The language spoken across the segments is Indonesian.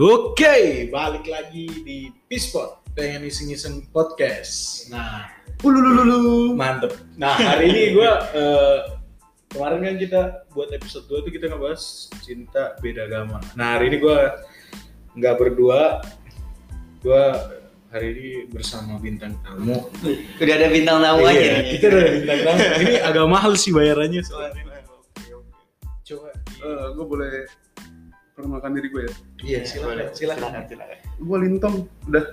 Oke, balik lagi di Pispot pengen iseng-iseng podcast. Nah, ulululu mantep. Nah, hari ini gue kemarin kan kita buat episode 2 tuh kita ngebahas cinta beda agama. Nah, hari ini gue nggak berdua, gue hari ini bersama bintang tamu. Udah ada bintang tamu aja Iya, nih. kita udah ada bintang tamu. Ini agak mahal sih bayarannya soalnya. Coba. Eh, gue boleh perkenalkan diri gue ya. Iya, silakan, silakan. silakan. Gue Lintong, udah.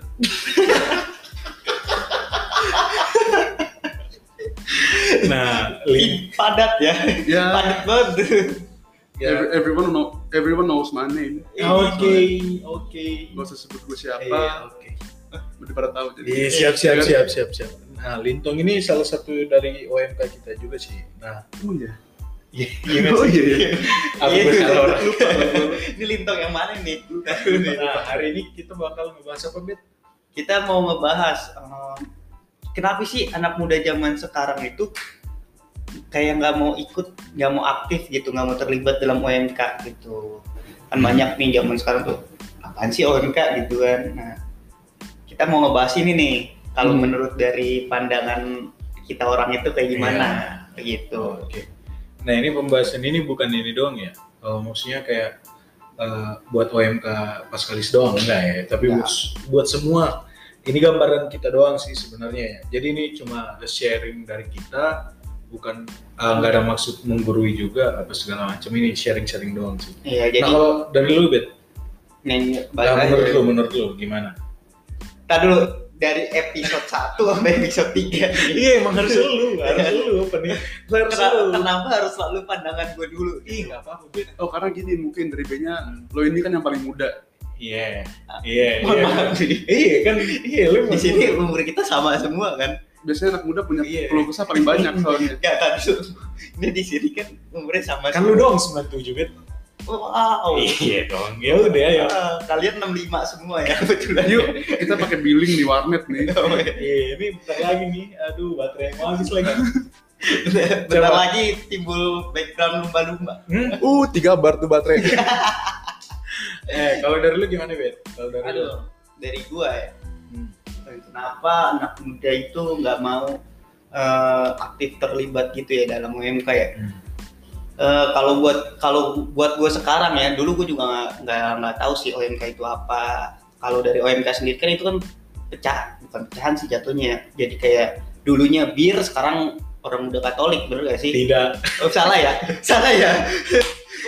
Nah, Lin, Ih, padat ya. Iya. Ya. Padat banget. ya. Every- everyone know, everyone knows my name. Iya. Oke, oke. Gak usah sebut gue siapa, Iya, oke. udah pada tahu jadi. Iya, siap, siap, siap, siap, siap. Nah, Lintong ini salah satu dari OMK kita juga sih. Nah, Emang ya? iya, Oh iya. iya. Aku Iya, bersalah orang. lupa. Ini lintong yang mana nih? Tahu nih. Nah, hari ini kita bakal ngebahas apa, Bet? Kita mau ngebahas em, kenapa sih anak muda zaman sekarang itu kayak nggak mau ikut, nggak mau aktif gitu, nggak mau terlibat dalam OMK gitu. Kan Hmm. banyak nih zaman sekarang tuh apaan sih OMK gitu kan. Nah, kita mau ngebahas ini nih. Kalau Hmm. menurut dari pandangan kita orang itu kayak gimana gitu. Oh, Oke. Nah, ini pembahasan ini bukan ini doang ya. Kalau maksudnya kayak eh, buat OMK Paskalis doang enggak ya, tapi Enggak. buat, buat semua. Ini gambaran kita doang sih sebenarnya ya. Jadi ini cuma ada sharing dari kita, bukan eh, nggak ada maksud menggurui juga apa segala macam. Ini sharing-sharing doang sih. nah, Iya, jadi kalau dari lu, Bet, Neng, nah, balik menurut lu, lagi. menurut lu gimana? Ntar dulu dari episode 1 sampai episode 3 Iya, emang harus lu, harus lu pening. Harus kenapa, kenapa harus selalu pandangan gue dulu? Ih, nggak apa-apa, Bet. Oh karena gini mungkin dari B-nya lo ini kan yang paling muda. Iya, iya, Ah. Mohon iya. maaf sih. Iya kan, iya lu Di sini umur kita sama semua kan? Biasanya anak muda punya Iya. keluh kesah paling banyak soalnya. Gak tadi tuh. Ini di sini kan umurnya sama. kan lu doang 97 bet. Wow. Iya dong. Ya udah ya. Oh, Ah, kalian 65 semua ya kebetulan. Yuk kita pakai billing di warnet nih. Iya, ini bentar lagi nih. Aduh, baterai mau habis lagi. Bentar lagi timbul background lumba-lumba. Hmm? Uh tiga bar tuh Iya, baterai. Eh, kalau dari lu gimana, Bet? Kalau dari lu. Aduh, dari gua ya. Hmm. kenapa anak muda itu nggak mau eh, aktif terlibat gitu ya dalam UMK ya Hmm. Eh, kalau buat kalau buat gue sekarang ya dulu gue juga nggak nggak nggak tahu sih OMK itu apa kalau dari OMK sendiri kan itu kan pecah bukan pecahan sih jatuhnya jadi kayak dulunya bir sekarang orang muda Katolik bener gak sih Tidak, oh, salah ya salah ya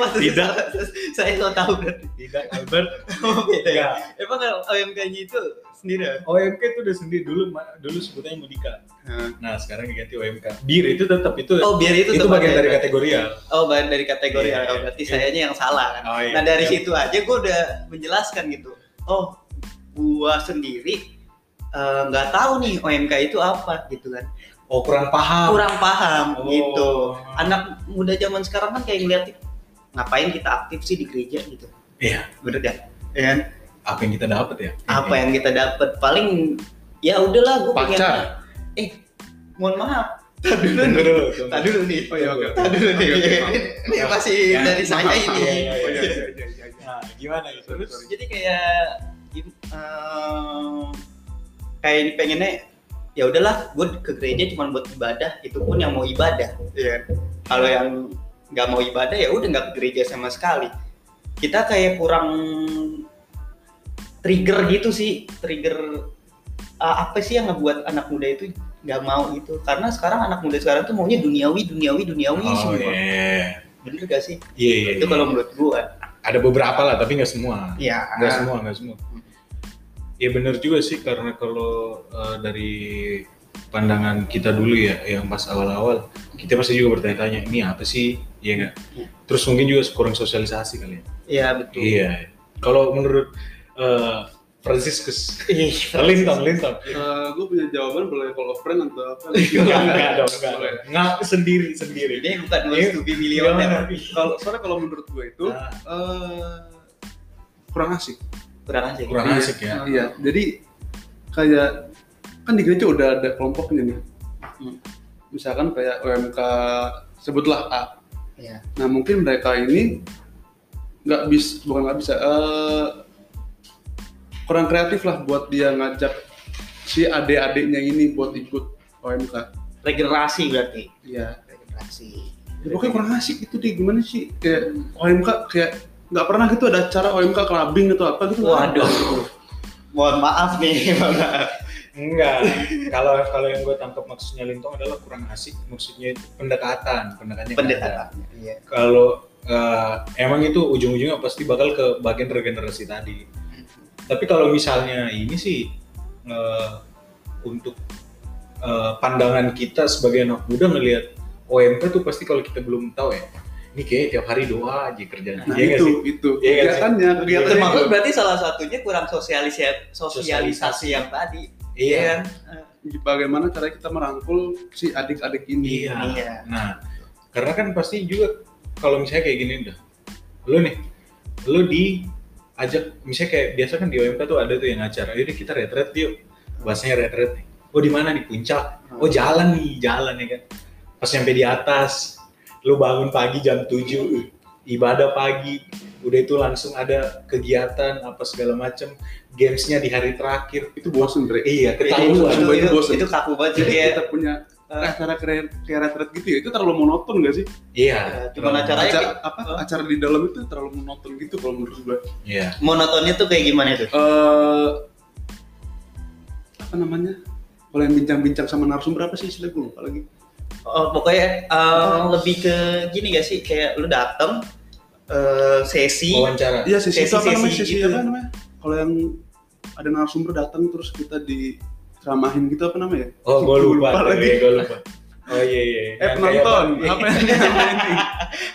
Waduh, Tidak. salah. saya so tahu berarti tidak Albert. Oh, beda ya Enggak. emang kalau OMK-nya itu sendiri ya? OMK itu udah sendiri dulu ma- dulu sebutannya Mudika. Nah, Nah, sekarang diganti OMK. Bir itu tetap itu oh biar itu itu, tuh bagian pakai- dari kategori ya. Oh, bahan dari kategori Iya, ya. iya. Berarti Iya. sayanya yang salah kan. Oh, iya. Nah, dari Iya. situ aja gue udah menjelaskan gitu. Oh, gua sendiri eh, nggak tahu nih OMK itu apa gitu kan. Oh, kurang paham. Kurang paham Oh. gitu. Anak muda zaman sekarang kan kayak ngeliat ngapain kita aktif sih di gereja gitu. Iya. Bener ya? Ya kan? Apa yang kita dapat ya? Apa yang kita dapat paling ya udahlah gue pengen Pacar. eh mohon maaf. Tadi dulu. Tadi dulu nih. oh iya oke. Tadi dulu nih. Oke, oke, maaf. Ini masih Ya, dari saya maaf. ini. Iya, iya, Oh, iya, iya. iya, iya, iya, iya. Nah, gimana ya? Sorry, Terus sorry. jadi kayak gim- eh, kayak ini pengennya ya udahlah gue ke gereja cuma buat ibadah itu pun yang mau ibadah Iya. ya kalau yang nggak mau ibadah ya udah nggak ke gereja sama sekali kita kayak kurang trigger gitu sih trigger eh, apa sih yang ngebuat anak muda itu nggak mau itu karena sekarang anak muda sekarang tuh maunya duniawi duniawi duniawi Oh, semua iya. bener gak sih Iya, iya. itu kalau menurut gua ada beberapa lah, tapi nggak semua. ya nggak semua nggak semua ya benar Iya. juga sih karena kalau eh, dari pandangan kita dulu ya yang pas awal-awal kita pasti juga bertanya-tanya ini apa sih ya nggak Iya. terus mungkin juga kurang sosialisasi kali ya ya betul iya kalau menurut eh, Franciscus Ih, lintang lintang gue Eh, punya jawaban boleh follow friend atau apa? nggak nggak dong nggak Boleh. nggak sendiri sendiri Ini bukan Ini harus to be millionaire. Kalau soalnya kalau menurut gue itu Nah. eh, kurang asik. Kurang asik. kurang Iya. asik ya Iya. Jadi kayak kan di gereja udah ada kelompoknya nih. Hmm. Misalkan kayak UMK sebutlah A. Iya. Nah mungkin mereka ini nggak bisa bukan nggak bisa eh, kurang kreatif lah buat dia ngajak si adik-adiknya ini buat ikut OMK. regenerasi berarti Iya. regenerasi Ya, pokoknya kurang asik gitu deh gimana sih kayak OMK kayak nggak pernah gitu ada acara OMK clubbing gitu apa gitu. nggak ada. Waduh. mohon maaf nih Bang. Enggak. Kalau kalau yang gue tangkap maksudnya Lintong adalah kurang asik, maksudnya itu pendekatan, pendekatannya. pendekatan iya Kalau eh, emang itu ujung-ujungnya pasti bakal ke bagian regenerasi tadi. Tapi kalau misalnya ini sih eh, untuk eh, pandangan kita sebagai anak muda ngelihat OMK tuh pasti kalau kita belum tahu ya. Ini kayaknya tiap hari doa aja kerjaan. Nah, Iya nggak itu sih? itu Iya nggak sih? Iya. kegiatannya kegiatannya termasuk itu. berarti salah satunya kurang sosialisa- sosialisasi yang tadi Iya. kan bagaimana cara kita merangkul si adik-adik ini. Iya. Iya. Nah, karena kan pasti juga kalau misalnya kayak gini udah, lu nih, lu diajak misalnya kayak biasa kan di OMK tuh ada tuh yang acara, yaudah kita retret yuk, bahasanya retret nih. Oh di mana di puncak? Oh jalan nih, jalan ya kan. Pas nyampe di atas, lu bangun pagi jam 7 ibadah pagi, udah itu langsung ada kegiatan apa segala macem, gamesnya di hari terakhir. Itu bosen, Dre. Iya, Tahu, itu, ketahuan. itu, coba itu itu, bosen. itu kaku banget sih Jadi Iya. dia kita punya Eh. acara kayak kayak retret gitu ya itu terlalu monoton gak sih? Iya, Eh. Cuman terlalu- acara- Caranya acara kayak- apa acara di dalam itu terlalu monoton gitu kalau menurut gua. Iya. monotonnya tuh kayak gimana tuh Eh apa namanya? Kalau yang bincang-bincang sama narasumber apa sih istilah gue lupa lagi. Oh, pokoknya eh, lebih ke gini gak sih kayak lu dateng eh, sesi Wawancara. Iya sesi, itu apa Sesi-sesi namanya? Sesi kan. gitu. apa namanya? Kalau yang ada narasumber datang terus kita di ceramahin gitu apa namanya? Oh, gue lupa. Lupa lagi. Iya, gua lupa. Oh iya iya. Eh Yang penonton, kayak- apa yang ini?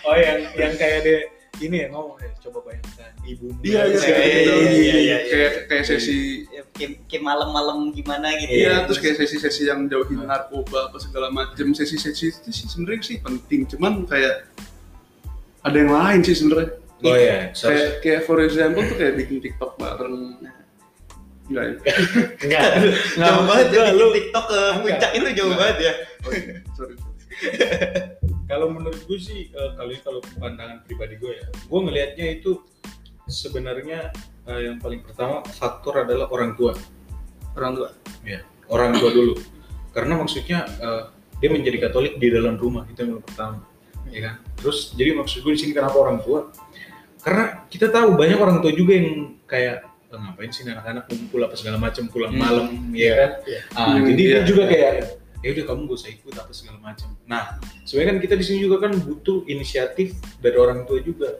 Oh yang yang kayak dia ini ya ngomong ya, coba bayangkan ibu. Iya iya Iya, kayak iya, gitu. iya, iya, iya, iya. Kayak kayak sesi Ya, kayak, kayak malam-malam gimana gitu Iya, Iya, terus kayak sesi-sesi yang jauhin narkoba apa segala macam. Sesi-sesi itu sih sebenarnya sih penting, cuman kayak ada yang lain sih sebenarnya. Oh iya. so- Kayak kayak for example tuh kayak bikin TikTok bareng. Enggak ya? Enggak. jauh banget maksud gua, jadi lu TikTok ke Enggak. puncak itu jauh Enggak. banget ya Oh, iya, sorry. kalau menurut gue sih eh, kalau ini kalau pandangan pribadi gue ya, gue ngelihatnya itu sebenarnya eh, yang paling pertama faktor adalah orang tua. orang tua ya orang tua dulu karena maksudnya eh, dia menjadi Katolik di dalam rumah itu yang pertama ya kan terus jadi maksud gue di sini kenapa orang tua karena kita tahu banyak orang tua juga yang kayak "Eh, ngapain sih ini anak-anak kumpul apa segala macam pulang Hmm. malam ya kan Iya. Ah, Hmm, jadi iya. dia juga kayak ya udah kamu gak usah ikut apa segala macam nah sebenarnya kan kita di sini juga kan butuh inisiatif dari orang tua juga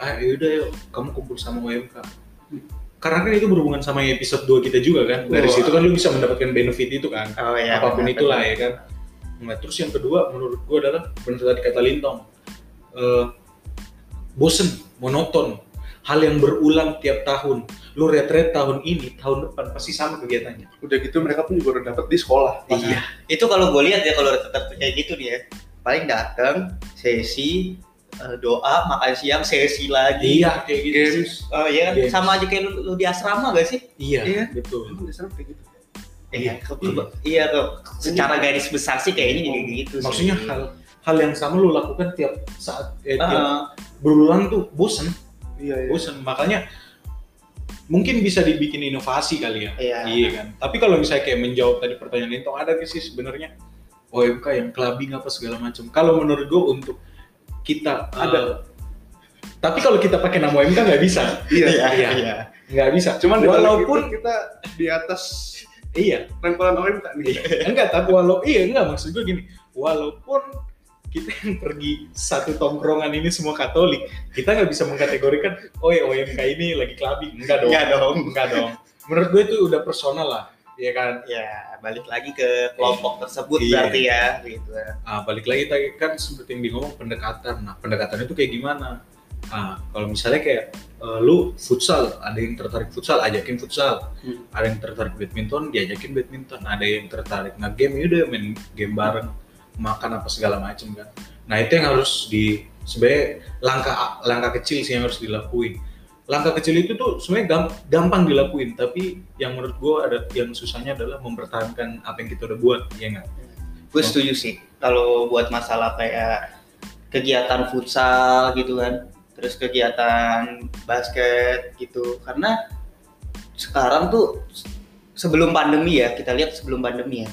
ah ya udah yuk kamu kumpul sama OMK karena kan itu berhubungan sama yang episode 2 kita juga kan dari Wah. situ kan lu bisa mendapatkan benefit itu kan oh ya apapun itulah ya kan nah terus yang kedua menurut gua adalah benar tadi kata Lintong eh, bosen monoton hal yang berulang tiap tahun lu retret tahun ini tahun depan pasti sama kegiatannya Udah gitu mereka pun juga udah dapet di sekolah. Iya. itu kalau gue lihat ya kalau tetap kayak gitu nih ya paling datang sesi eh, doa makan siang sesi lagi iya kayak gitu Games. oh iya kan? Iya. sama aja kayak lu, lu di asrama gak sih iya Iya. betul Emang di sana kayak gitu. Iya. ke- ke- iya ke- secara garis besar sih kayaknya kayak gitu sih. maksudnya hal hal yang sama lu lakukan tiap saat eh, tiap Ah, berulang tuh bosen Iya, iya. bosen makanya mungkin bisa dibikin inovasi kali ya Iya. iya kan tapi kalau misalnya kayak menjawab tadi pertanyaan Lintong ada nggak sih sebenarnya OMK yang clubbing apa segala macam kalau menurut gue untuk kita Ada. eh, tapi kalau kita pakai nama OMK nggak bisa Iya. iya Iya. iya nggak bisa Cuman gitu. di balik walaupun itu kita di atas iya rempelan OMK nih. Iya, enggak tapi walau iya enggak maksud gue gini walaupun kita yang pergi satu tongkrongan ini semua Katolik kita nggak bisa mengkategorikan oh ya OMK ini lagi clubbing enggak dong Enggak dong. enggak dong menurut gue itu udah personal lah ya kan ya balik lagi ke kelompok tersebut Iya. berarti ya gitu Ah, balik lagi tadi kan seperti yang di ngomong pendekatan nah pendekatan itu kayak gimana Ah, kalau misalnya kayak eh, lu futsal ada yang tertarik futsal ajakin futsal Hmm. ada yang tertarik badminton diajakin badminton ada yang tertarik nge-game yaudah main game bareng makan apa segala macam kan nah itu yang harus di sebenarnya langkah langkah kecil sih yang harus dilakuin langkah kecil itu tuh sebenarnya gam- gampang dilakuin tapi yang menurut gua ada yang susahnya adalah mempertahankan apa yang kita udah buat ya nggak gue setuju sih kalau buat masalah kayak kegiatan futsal gitu kan terus kegiatan basket gitu karena sekarang tuh sebelum pandemi ya kita lihat sebelum pandemi ya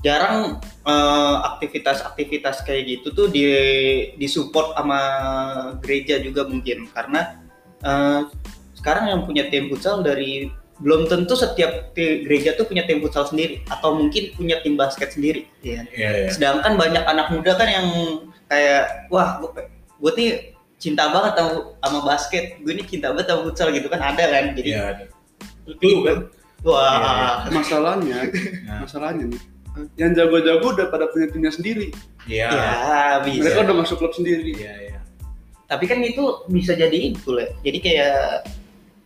jarang eh, aktivitas-aktivitas kayak gitu tuh di disupport sama gereja juga mungkin karena eh, sekarang yang punya tim futsal dari belum tentu setiap ti- gereja tuh punya tim futsal sendiri atau mungkin punya tim basket sendiri ya Iya, iya. sedangkan banyak anak muda kan yang kayak wah gue, gue nih cinta banget sama, sama basket gue nih cinta banget sama futsal gitu kan ada kan jadi Iya. Lu kan. wah Iya, masalahnya Nah, masalahnya nih yang jago-jago udah pada punya timnya sendiri Iya. ya bisa mereka udah masuk klub sendiri Iya, iya. tapi kan itu bisa jadi itu ya jadi kayak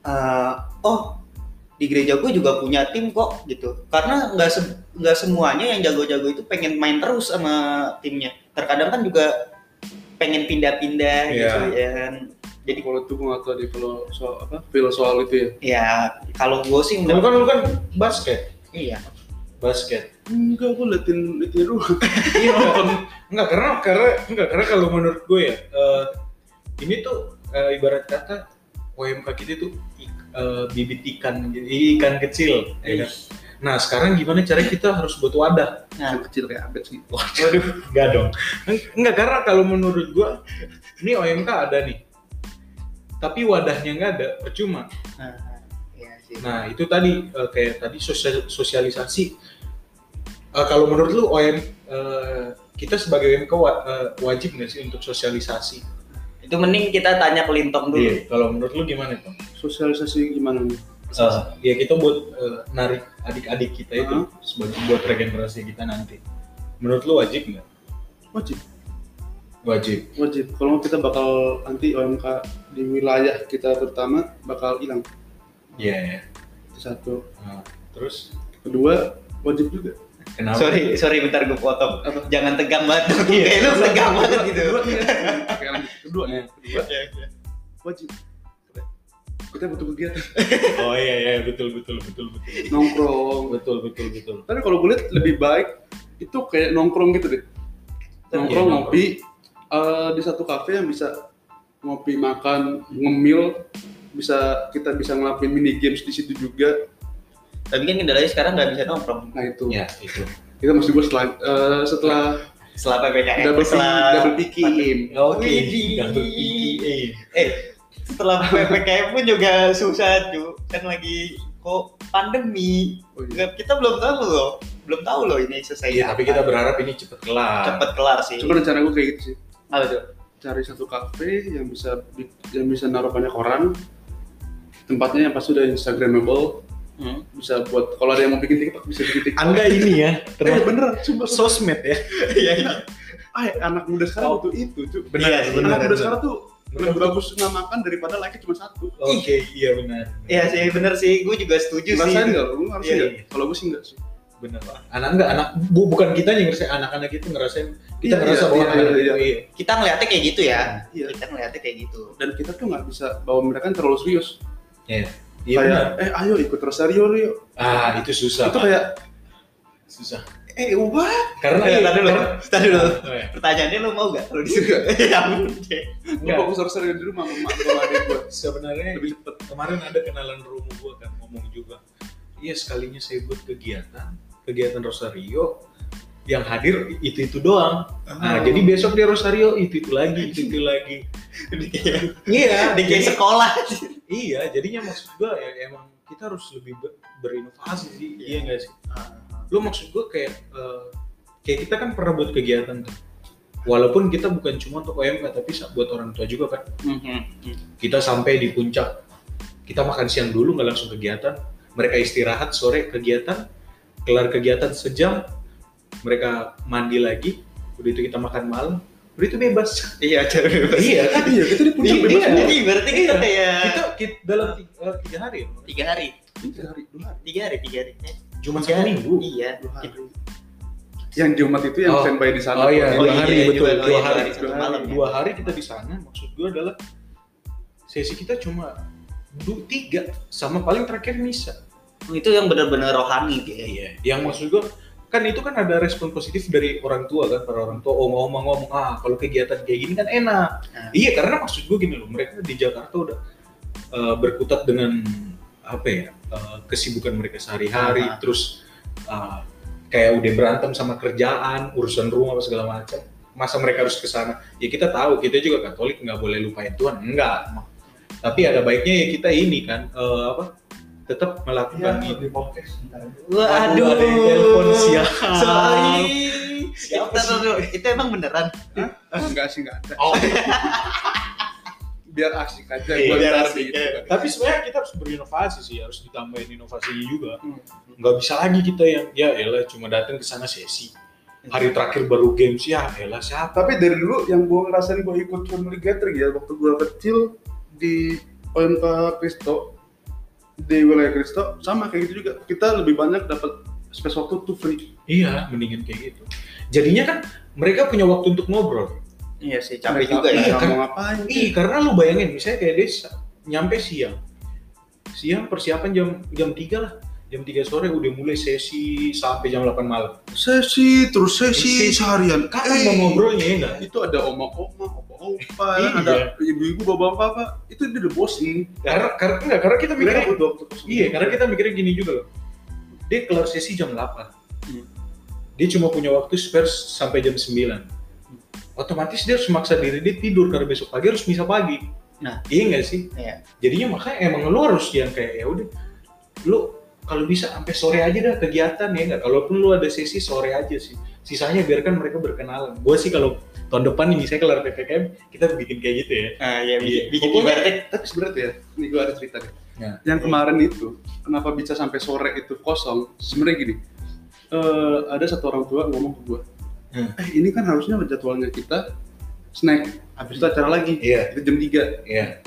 eh, oh di gereja gue juga punya tim kok gitu karena nggak se- nggak semuanya yang jago-jago itu pengen main terus sama timnya terkadang kan juga pengen pindah-pindah gitu Iya. kan jadi kalau itu gue nggak tahu deh kalau soal apa feel soal itu ya ya kalau gue sih Lu udah kan lu kan basket. iya Basket. enggak gue liatin liatin doang Iya, nonton. Enggak karena karena enggak karena kalau menurut gue ya eh, ini tuh eh, ibarat kata UMK kita itu ik- eh, bibit ikan ikan kecil ya kan? Nah, sekarang gimana cara kita harus buat wadah? nah kecil kayak abet sih Waduh, enggak dong. Enggak karena kalau menurut gua ini OMK ada nih. Tapi wadahnya nggak ada, percuma. nah, iya sih. Nah, itu tadi eh, kayak tadi sosial- sosialisasi. Eh, kalau menurut lu OM eh, kita sebagai OMK wa- eh, wajib nggak sih untuk sosialisasi? itu mending kita tanya ke Lintong dulu Kalau menurut lu gimana tuh? sosialisasi gimana nih ya kita buat eh, narik adik-adik kita itu Hmm. sebagai buat regenerasi kita nanti. Menurut lu wajib nggak? wajib Wajib. wajib kalau nggak kita bakal nanti OMK di wilayah kita terutama bakal hilang Iya. ya. itu satu Nah, terus kedua wajib juga kenapa? sorry sorry bentar gue potong Apa? jangan tegang banget kayak lu tegang Iya. banget gitu Oke, lanjut. kedua ya kedua Iya, wajib kita butuh kegiatan Oh iya iya betul betul betul betul nongkrong betul betul betul. tapi kalau gue lihat lebih baik itu kayak nongkrong gitu deh nongkrong Iya, ngopi eh, di satu kafe yang bisa ngopi makan ngemil bisa kita bisa ngelakuin mini games di situ juga tapi kan kendalanya sekarang nggak bisa nongkrong nah itu Ya itu. kita masih gue setelah eh, setelah setelah ppkm double pi- setelah double picking Oke. Widih. Double PPI. eh setelah ppkm pun juga susah tuh kan lagi kok pandemi Oh, iya. Nggak- kita belum tahu loh belum tahu loh ini selesai Iya tapi kita kapan. berharap ini cepet kelar. cepet kelar sih cuma rencana gue kayak gitu sih Apa tuh? cari satu kafe yang bisa bi- yang bisa naruh banyak orang tempatnya yang pasti udah instagramable Hmm. bisa buat kalau ada yang mau bikin tiktok bisa bikin tiktok Anda ini ya eh termasuk bener sumpah sumpah. sosmed ya. Iya, iya. ah anak muda sekarang butuh itu cuy Benar Iya, benar. anak muda benar. sekarang tuh lebih bagus namakan daripada like cuma satu Oke iya benar. Iya sih bener sih gue juga setuju sih ngerasain nggak lu harus Iya, nggak iya. kalau gue sih nggak sih Benar lah. Anak enggak anak bu, bukan kita yang ngerasain anak-anak itu ngerasain kita Iya, ngerasa iya, bahwa iya, anak-anak iya, itu, iya. kita ngeliatnya kayak gitu ya Iya. kita ngeliatnya kayak gitu dan kita tuh nggak bisa bawa mereka yang terlalu serius Iya. Iya kayak benar. eh ayo ikut Rosario lu yuk Ah itu susah. itu kayak susah. eh ubah Karena Eh, iya, tar dulu, karena- tar dulu. Oh, iya. pertanyaannya lo mau gak kalau disuruh ya ampun deh gue Enggak. fokus Rosario di rumah sama sama adik gue Sebenarnya lebih cepet kemarin ada kenalan rumah gue kan ngomong juga iya sekalinya saya buat kegiatan kegiatan Rosario yang hadir itu itu doang nah jadi besok dia Rosario itu itu lagi itu itu lagi Ini kayak- iya ini kayak sekolah iya jadinya maksud gue ya, emang kita harus lebih ber- berinovasi sih iya nggak sih lu maksud gue kayak eh, kayak kita kan pernah buat kegiatan tuh walaupun kita bukan cuma untuk OMK tapi sa- buat orang tua juga kan Mhm. kita sampai di puncak kita makan siang dulu nggak langsung kegiatan mereka istirahat sore kegiatan kelar kegiatan sejam mereka mandi lagi udah itu kita makan malam udah itu bebas iya acara bebas iya kan iya kita di puncak Iya, bebas iya. semua jadi berarti kita Iya. kayak kita, kita dalam tiga, eh, tiga hari ya? tiga hari Tiga hari dua hari tiga hari tiga hari Eh, cuma tiga satu hari. minggu iya dua hari yang di umat itu yang Oh. standby di sana Oh, iya. Jadi, Dua hari, betul. Dua iya, dua hari, hari satu dua malam dua ya. hari kita di sana maksud gue adalah sesi kita cuma du, tiga sama paling terakhir misa Oh, itu yang benar-benar rohani kayak iya yang maksud gue kan itu kan ada respon positif dari orang tua kan para orang tua oh ngomong ngomong ah kalau kegiatan kayak gini kan enak Nah, Iya karena maksud gue gini loh, mereka di Jakarta udah eh, berkutat dengan apa ya eh, kesibukan mereka sehari-hari Ah. terus eh, kayak udah berantem sama kerjaan urusan rumah apa segala macam masa mereka harus ke sana ya kita tahu kita juga Katolik nggak boleh lupain Tuhan enggak tapi ada baiknya ya kita ini kan eh, apa tetap Iya, melakukan itu di podcast bentar. Aduh, ada yang telepon siap Sorry. Siapa Bentar, sih? bentar, Itu emang beneran. Enggak sih, enggak ada. Oh, Biar asik aja Iya, gua biar ntar asik, gitu. iya. tapi sebenarnya kita harus berinovasi sih harus ditambahin inovasinya juga Hmm. nggak bisa lagi kita yang ya elah cuma datang ke sana sesi hari terakhir baru games ya elah siapa Tapi dari dulu yang gua ngerasain gua ikut family gathering ya waktu gua kecil di OMK Kristo di wilayah Kristo sama kayak gitu juga. Kita lebih banyak dapat space waktu tuh free. iya mendingan kayak gitu jadinya kan mereka punya waktu untuk ngobrol Iya sih, capek Mereka juga ya. Iya, nggak kan? mau ngapain. Ih, karena lu bayangin misalnya kayak desa nyampe siang. Siang persiapan jam jam 3 lah. Jam 3 sore udah mulai sesi sampai jam 8 malam. Sesi terus sesi Sesi. seharian. Kapan Eh, mau ngobrolnya ya enggak? Itu ada oma-oma, opa-opa, Iya. ada ibu-ibu, bapak-bapak, apa. itu dia udah bosen. Karena karena enggak, karena kita Mereka mikirnya butuh waktu kosong. Iya, karena kita mikirnya gini juga loh. Dia kelar sesi jam 8. Hmm. Dia cuma punya waktu spare sampai jam 9. Otomatis dia harus maksa diri dia tidur karena besok pagi harus misa pagi. Nah. iya nggak sih? Iya. Jadinya makanya emang lu harus yang kayak ya udah lu kalau bisa sampai sore aja dah kegiatan ya nggak. Kalaupun lu ada sesi sore aja sih. Sisanya biarkan mereka berkenalan. Gua sih kalau tahun depan nih misalnya kelar PPKM kita bikin kayak gitu ya. Ah, iya, bikin, Iya. bikin Pokoknya- ibaratnya Tapi sebenarnya ya, ini gue ada cerita nih. Ya. Yang kemarin itu, kenapa bisa sampai sore itu kosong? Sebenarnya gini, eh, ada satu orang tua ngomong ke gue, Hmm. eh ini kan harusnya jadwalnya kita snack, habis itu acara lagi, Iya, itu jam 3. iya.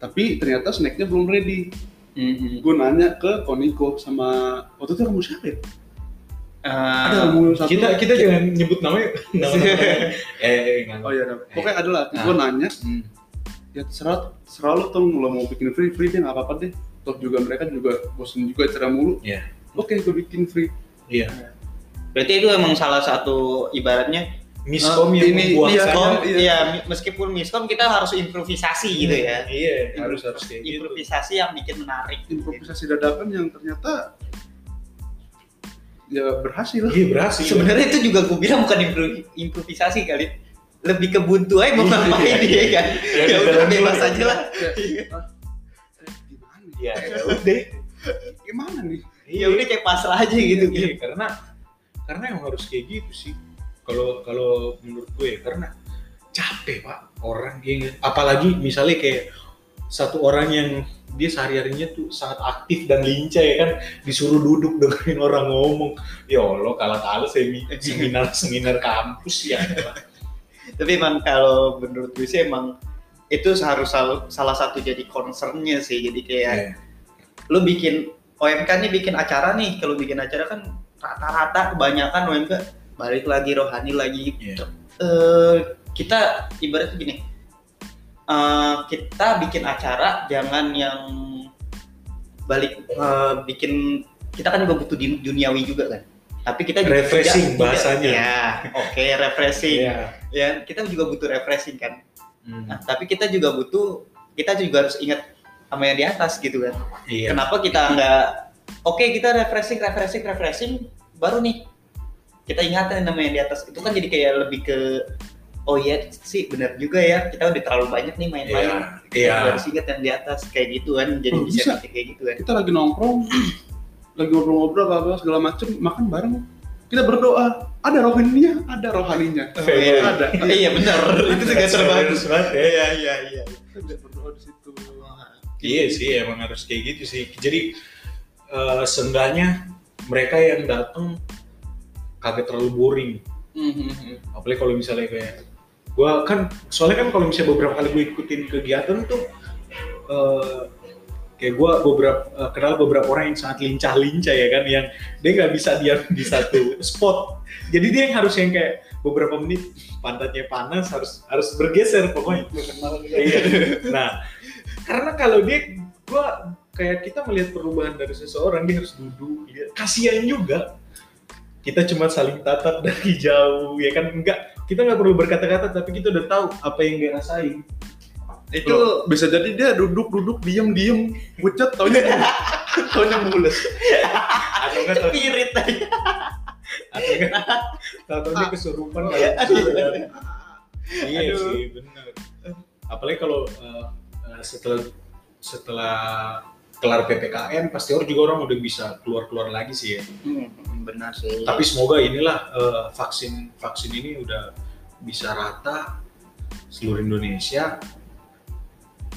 Tapi ternyata snacknya belum ready. Mm-mm. Gue nanya ke Koniko sama, waktu itu kamu siapa ya? Eh, Ada kamu satu. Ah, Kita kita jangan nyebut namanya. Nama-nama. eh, enggak. Oh iya, ada. pokoknya adalah. Gue nanya, Hmm. ya terserah terserah lo tuh lo mau bikin free free deh nggak apa apa deh toh juga mereka juga bosen juga acara mulu Iya. oke gue bikin free Iya. berarti itu emang salah satu ibaratnya Miskom Eh, yang ini- membuang iya, saya. miskom, iya. ya mi- meskipun miskom kita harus improvisasi gitu ya. Iya, harus harus kayak gitu. Improvisasi yang bikin menarik. improvisasi dadakan yang ternyata ya berhasil Iya, berhasil. Sebenarnya itu juga gue bilang bukan impro- improvisasi kali. Lebih ke buntu aja mau Iya, ngapain dia kan. Ya, Ya udah, udah bebas udah. aja lah. Iya. Eh, gimana nih? Iya, ya udah. gimana nih Ya udah kayak pasrah aja gitu Iya, gitu. karena karena yang harus kayak gitu sih. Kalau kalau menurut gue ya, karena capek, Pak. Orang yang apalagi misalnya kayak satu orang yang dia sehari-harinya tuh sangat aktif dan lincah ya kan disuruh duduk dengerin orang ngomong ya Allah kalah-kalah semi- Iya. seminar-seminar kampus ya Tapi emang kalau menurut gue sih emang itu harus sal- salah satu jadi concernnya sih. Jadi kayak Iya. lu bikin OMK nih bikin acara nih kalau bikin acara kan rata-rata kebanyakan OMK balik lagi rohani lagi Iya. Eh, kita ibaratnya gini eh, kita bikin acara jangan yang balik eh, bikin kita kan juga butuh di- duniawi juga kan tapi kita juga Refreshing tidak- tidak- bahasanya. ya oke refreshing Iya. ya kita juga butuh refreshing kan Hmm. nah, tapi kita juga butuh kita juga harus ingat sama yang di atas gitu kan Iya. Kenapa kita nggak oke kita refreshing refreshing refreshing baru nih kita ingatkan nama yang di atas itu kan jadi kayak lebih ke oh iya sih benar juga ya kita udah terlalu banyak nih main-main Kita Iya. juga harus ingat yang di atas kayak gitu kan jadi Oh, bisa, bisa. bikin kayak gitu kan kita lagi nongkrong lagi ngobrol-ngobrol apa segala macem makan bareng kita berdoa ada rohaninya ada rohaninya Oh, iya. ada Eh, iya benar itu juga terbagus iya iya iya kita bisa berdoa di situ Iya sih emang harus kayak gitu sih. Jadi eh seenggaknya mereka yang datang kagak terlalu boring. Apalagi kalau misalnya kayak gua kan soalnya kan kalau misalnya beberapa kali gue ikutin kegiatan tuh eh kayak gua beberapa eh, kenal beberapa orang yang sangat lincah-lincah ya kan yang dia nggak bisa diam di satu spot. Jadi dia yang harus yang kayak beberapa menit pantatnya panas harus harus bergeser pokoknya. Iya. Nah, karena kalau dia gua kayak kita melihat perubahan dari seseorang dia harus duduk lihat. Kasihan juga. Kita cuma saling tatap dari jauh ya kan enggak kita nggak perlu berkata-kata tapi kita udah tahu apa yang dia rasain itu Itu bisa jadi dia duduk-duduk diem-diem pucat taunya taunya mulus. atau enggak tau cepirit aja atau enggak tahu dia kesurupan kali. iya Aduh. sih benar apalagi kalau eh, eh, setelah setelah kelar ppkm pasti orang juga orang udah bisa keluar keluar lagi sih ya Hmm, benar sih tapi semoga inilah eh, vaksin vaksin ini udah bisa rata seluruh Indonesia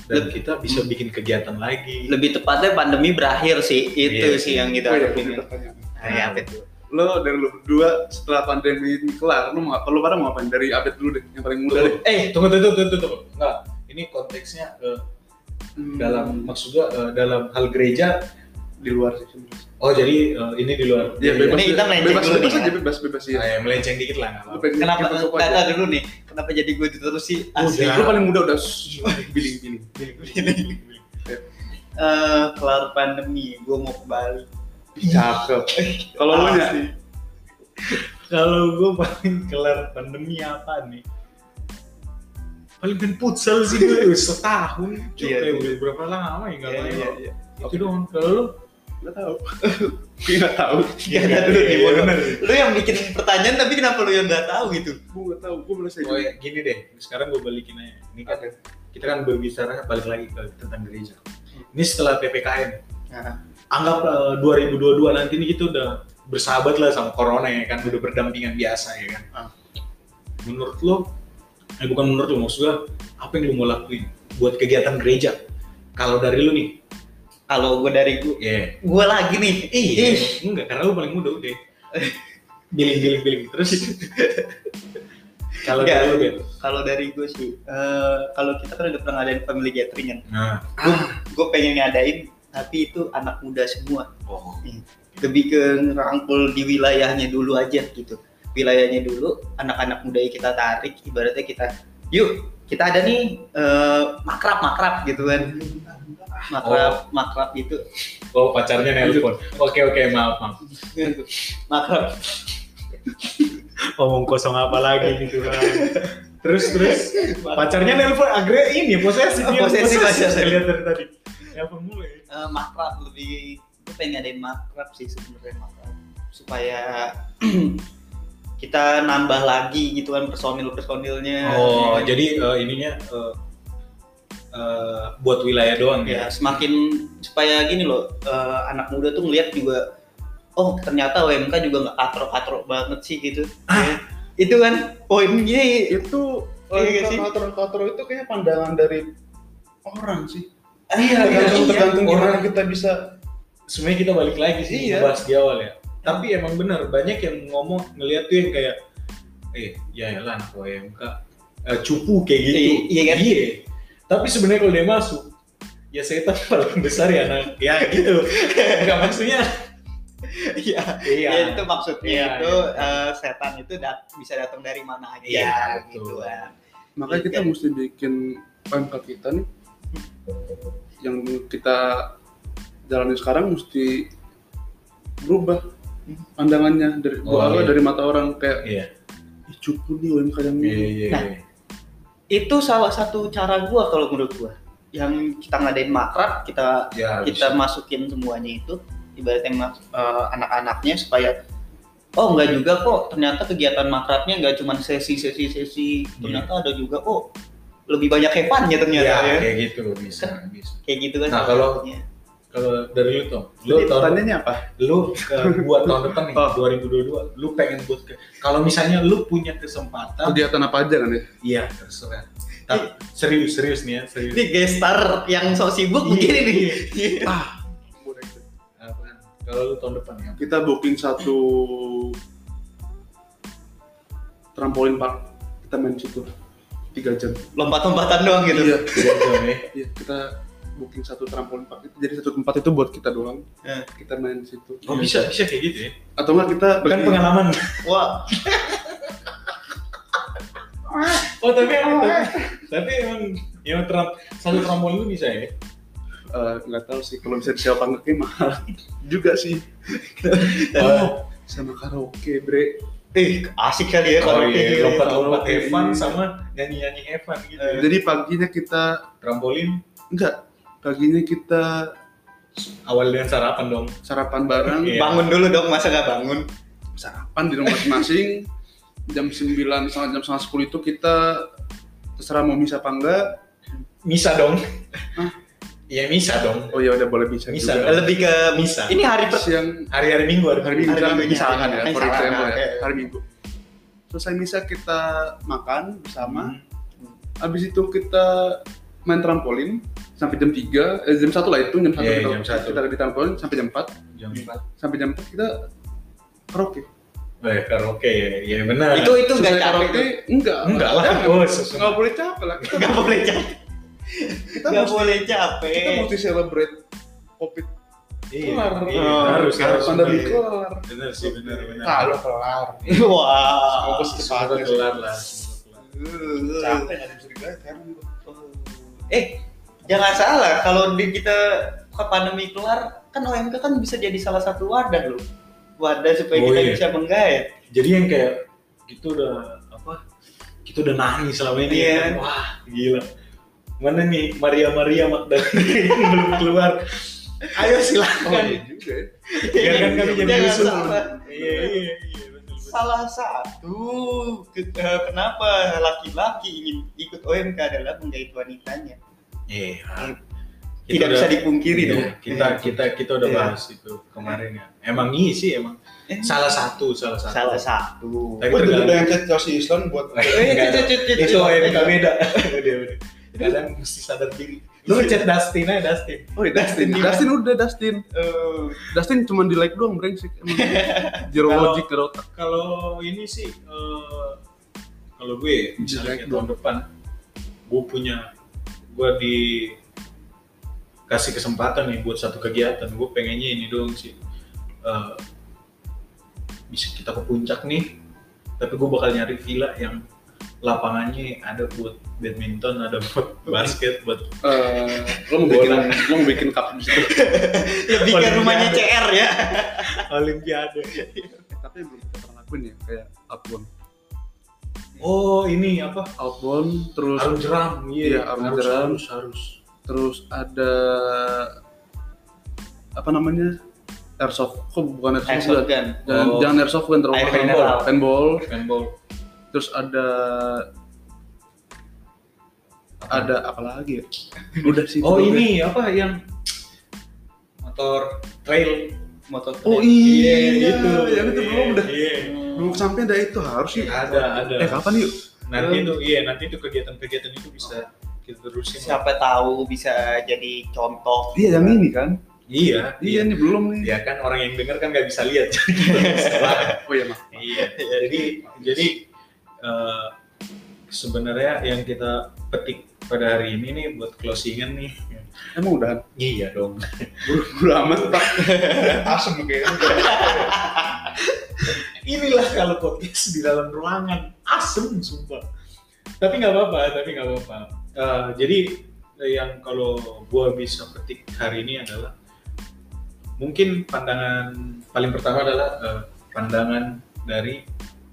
dan Leb- kita bisa bikin kegiatan lagi lebih tepatnya pandemi berakhir sih itu Iya. sih yang kita Oh iya, harapin gua tanya. Nah, ya, apa itu? Lo dari lo berdua setelah pandemi ini kelar, lo mau apa? Lo pada mau apa? Dari update dulu deh, yang paling muda deh. eh tunggu tunggu tunggu tunggu, tunggu Nggak, ini konteksnya eh, dalam Hmm, maksudnya eh, dalam hal gereja di luar sih. sebenarnya. oh jadi eh, ini di luar Ya bebas, Ini kita melenceng bebas, dulu bebas nih, aja, ya. bebas, bebas ya. Ah, ya, melenceng dikit lah nggak apa-apa. Iya, kenapa tata dulu nih kenapa jadi gue terus sih asli Udah. Lu paling muda udah biling-biling. Eh, kelar pandemi gue mau ke Bali Cakep. Kalau lu nya Kalau gue paling kelar pandemi apa nih? Paling main futsal sih gue setahun. Cuy, Iya, eh, iya. udah berapa lama ya nggak Iya, main. iya, iya. Itu doang. Kalau lu? Gak tau Gue gak tau Iya, iya, dulu iya, nih, iya, bodoh. bener. lu yang bikin pertanyaan tapi kenapa lu yang nggak tahu gitu Gue gak tau, gue merasa Oh, ya, gini deh, sekarang gue balikin aja. Ini kan kita kan berbicara balik lagi ke tentang gereja. Ini setelah ppkm, anggap eh, 2022 nanti ini kita udah bersahabat lah sama corona ya kan, udah berdampingan biasa ya kan. Ah. Menurut lo, eh bukan menurut lo, maksud gue apa yang lo mau lakuin buat kegiatan gereja? Kalau dari lo nih, kalau gue dari gue Iya. gue lagi nih Iya. ih Enggak, karena lu paling muda udah. Biling biling biling terus. Kalau Enggak. dari lu Ben. kalau dari gue sih eh, kalau kita kan udah pernah ngadain family gathering kan Nah, gue pengen ngadain tapi itu anak muda semua oh. lebih ke ngerangkul di wilayahnya dulu aja gitu wilayahnya dulu anak-anak muda yang kita tarik ibaratnya kita yuk kita ada nih eh, makrab makrab gitu kan makrab makrab gitu Oh, pacarnya nelpon. Oke oke, maaf maaf. makrab Omong kosong apa lagi gitu kan. Terus terus pacarnya nelpon akhirnya ini posesif dia. Posesif, posesif. Saya lihat dari tadi. Nelpon mulu ya. Eh, makrab lebih gue pengen ngadain makrab sih sebenarnya makrab supaya kita nambah lagi gitu kan personil personilnya Oh, jadi eh, ininya eh, eh, buat wilayah doang ya ya. semakin supaya gini loh eh, anak muda tuh ngelihat juga oh ternyata OMK juga nggak katro-katro banget sih gitu Iya. Ah, Ya. itu kan poinnya Itu Iya gak sih? Katro-katro itu kayak pandangan dari orang sih iya Tergantung tergantung gimana Orang- kita bisa sebenarnya kita balik lagi sih Iya. bahas di awal ya. Tapi emang bener banyak yang ngomong ngeliat tuh yang kayak eh ya lah anak OMK eh, cupu kayak gitu. Iya, iya kan? Iya. Tapi sebenarnya kalau dia masuk ya setan paling besar ya anak ya gitu. Enggak maksudnya iya iya. Ya, itu maksudnya Iya, itu iya. eh, setan itu dat- bisa datang dari mana aja Iya, betul. gitu kan Makanya kita Iya. mesti bikin UMK kita nih Yang kita jalani sekarang mesti berubah pandangannya dari Oh, gua iya. dari mata orang kayak Iya. ih cupu nih UMK yang Iya ini iya. Nah. iya. itu salah satu cara gua kalau menurut gua yang kita ngadain makrab kita Ya, kita bisa. masukin semuanya itu ibaratnya ma- eh, anak-anaknya supaya oh nggak juga kok ternyata kegiatan makrabnya nggak cuma sesi sesi sesi ternyata ada juga oh lebih banyak hepannya ternyata ya, ya kayak gitu bisa bisa. kayak gitu kan Nah, salah kalau- satunya. Kalau dari lu tuh, lu Jadi tahun pertanyaannya apa? lu eh, buat tahun depan nih Oh. 2022 lu pengen buat ke kalau misalnya lu punya kesempatan Kegiatan apa aja kan ya? Iya, terserah. Tapi serius, serius nih ya, serius. ini gestar yang sok sibuk begini nih Apaan? Kalau lu tahun depan ya. kita booking satu trampolin park kita main di situ tiga jam lompat-lompatan doang gitu iya Iya, Jom, ya. iya kita booking satu trampolin park itu jadi satu tempat itu buat kita doang Eh. kita main di situ Oh bisa, bisa kayak gitu ya. atau enggak kita Bukan bagi- pengalaman. wah Oh tapi emang, tapi, tapi emang, emang teram, satu trampolin lu bisa ya. Eh, nggak tahu sih kalau bisa disewa apa enggak, kayaknya mahal juga sih Oh, sama karaoke bre Ih, asik kali ya iya, kalau kayak Eh, gitu. Oh, lompat-lompat Iya. Evan sama nyanyi-nyanyi Evan gitu. ya. Jadi paginya kita Trampolin enggak paginya kita awal dengan sarapan dong. sarapan bareng Iya. Bangun dulu dong, masa nggak bangun? sarapan di rumah masing-masing jam 9 sampai jam setengah 10 itu kita terserah mau misa apa enggak Misa dong. Hah? Iya misa dong. oh ya udah boleh misa, Misa juga dong. Lebih ke Misa. Ini hari per siang Hari-hari Minggu hari, hari minggu Hari misalkan, Minggunya, misalkan ya hari for misalkan, example ya oke. hari minggu selesai misa kita makan Hmm. bersama habis itu kita main trampolin sampai jam 3 eh, jam 1 lah itu jam 1 Iya, kita, jam satu. kita di trampolin sampai jam 4 jam 4. sampai jam 4 kita karaoke Eh, karaoke ya. Iya benar. itu itu nggak Selesai capek. karaoke enggak enggak lah. Kan Oh, susun. nggak boleh capek lah kita, Nggak boleh capek. kita Nggak mesti boleh capek. kita mesti celebrate covid Iya, kelar. iya, Oh, harus harus harus pandemi Iya. kelar Benar sih, benar benar. kalau kelar Wah. Ah, Fokus ke Semoga sana. kelar lah. semoga kelar. capek nggak ada yang bisa dibayar sekarang juga. Eh, jangan salah kalau di kita ke pandemi kelar kan OMK kan bisa jadi salah satu wadah loh. Wadah supaya Oh, kita iya. bisa menggait. Jadi yang kayak kita udah apa? Kita udah nangis selama ini. Iya. kan. Wah, gila. Mana nih Maria Maria Magdalena yang belum keluar? Ayo oh iya silakan. juga ya Biarkan Iya, kan kami jadi Jangan musuh. salah. Iya, iya, iya. betul, betul. Salah satu ke- eh, kenapa laki-laki ingin ikut OMK adalah menggait wanitanya. Iya. Kita Tidak udah- bisa dipungkiri Iya, dong. Kita Iya. kita kita udah Iya. bahas itu kemarin ya. Emang iya sih emang. Eh, Salah satu, salah satu. salah satu. Tapi Gua dulu tergantung- pengen chat Chelsea Island buat Eh, Enggak, cut, cut, cut, Iya. itu cut. OMK beda. Udah, udah. Kadang mesti sadar diri. Lu ngechat Dustin aja Dustin. Oh iya, Dustin, Oh. Dustin. Dustin udah Dustin. Eh, Dustin cuma di like doang brengsek. Emang. Zero Kalau- logic zero otak. Kalau ini sih eh, kalau gue misalnya Jelek kayak tahun depan gue punya gue di kasih kesempatan nih buat satu kegiatan gue pengennya ini doang sih Eh, bisa kita ke puncak nih tapi gue bakal nyari villa yang lapangannya ada buat badminton ada buat basket buat Eh, lo mau bikin Bola. lo mau bikin cup di situ. lebih ke Olimpiade. rumahnya CR ya. olimpiade Eh, Tapi yang belum kita pernah lakuin ya kayak outbound. oh ini apa Outbound terus arung jeram Iya, iya arung harus, jeram. harus harus terus ada apa namanya? Airsoft. Kok bukan airsoft? ya. Airsoft juga? gun. Jangan, Oh. jangan airsoft kan terlalu Air mahal. mineral. Paintball. handball Terus ada ada apa lagi ya? Udah sih. Oh itu. ini apa yang motor trail? Motor Oh keren. iya, gitu. yang itu belum udah. Iya. Belum sampai ada itu harus sih. Ada ada. Eh kapan yuk? Nanti itu iya nanti itu kegiatan-kegiatan itu bisa kita terusin. Siapa tahu bisa jadi contoh. Iya yang ini kan? Iya. Iya nih belum nih. Ya kan orang yang denger kan nggak bisa lihat. Oh iya mah. iya. Jadi jadi eh, sebenarnya yang kita petik pada hari ini nih buat closingan nih. Emang udah Iya dong. buru-buru amat pak. Asem kayaknya. Inilah kalau podcast di dalam ruangan asem sumpah. Tapi nggak apa-apa, tapi nggak apa-apa. Eh, jadi eh, yang kalau gua bisa petik hari ini adalah mungkin pandangan paling pertama adalah eh, pandangan dari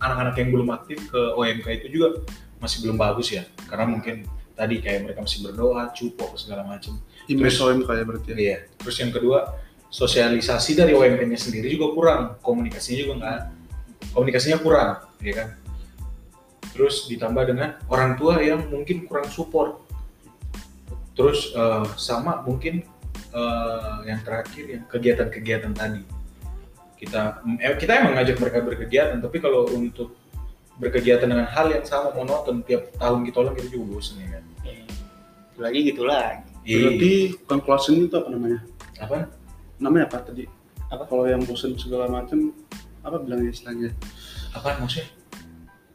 anak-anak yang belum aktif ke OMK itu juga masih belum bagus ya, karena mungkin tadi kayak mereka masih berdoa, cupo segala macam. Imesoin kayak berarti. ya. Iya. Terus yang kedua, sosialisasi dari UMP-nya sendiri juga kurang, komunikasinya juga nggak, komunikasinya kurang, ya kan. Terus ditambah dengan orang tua yang mungkin kurang support. Terus eh, sama mungkin eh, yang terakhir yang kegiatan-kegiatan tadi. Kita eh, kita emang ngajak mereka berkegiatan, tapi kalau untuk berkegiatan dengan hal yang sama monoton tiap tahun kita ulang kita juga bosen ya kan. Itu Lagi gitu lagi. Berarti bukan closing itu apa namanya? apa? Namanya apa tadi? Apa? Kalau yang bosen segala macam apa bilang istilahnya? Apa maksudnya?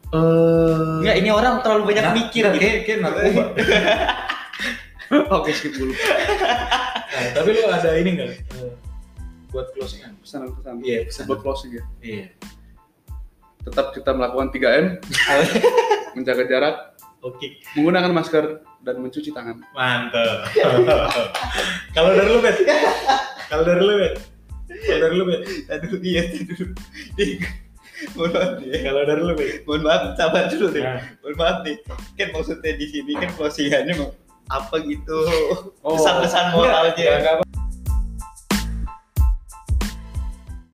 Eh. Enggak, ini orang terlalu banyak Nah, mikir iya. kayak- gitu. kayak narkoba. Oke skip dulu. Nah, tapi lu ada ini nggak eh, buat closingan? Pesan aku sama. Iya, pesan. Buat closing ya. Iya. Tetap kita melakukan 3M, menjaga jarak, Oke, menggunakan masker, dan mencuci tangan. mantap. Kalau dari lu bet, kalau dari lu bet, kalau dari lu bet, Aduh, iya aduh. Di- mohon maaf nih ya. Kalau dari lu, Bi. mohon maaf sabar dulu deh Nah. mohon maaf nih kan maksudnya di sini kan closingannya mau apa gitu pesan-pesan Enggak, moralnya Oh. enggak apa-apa.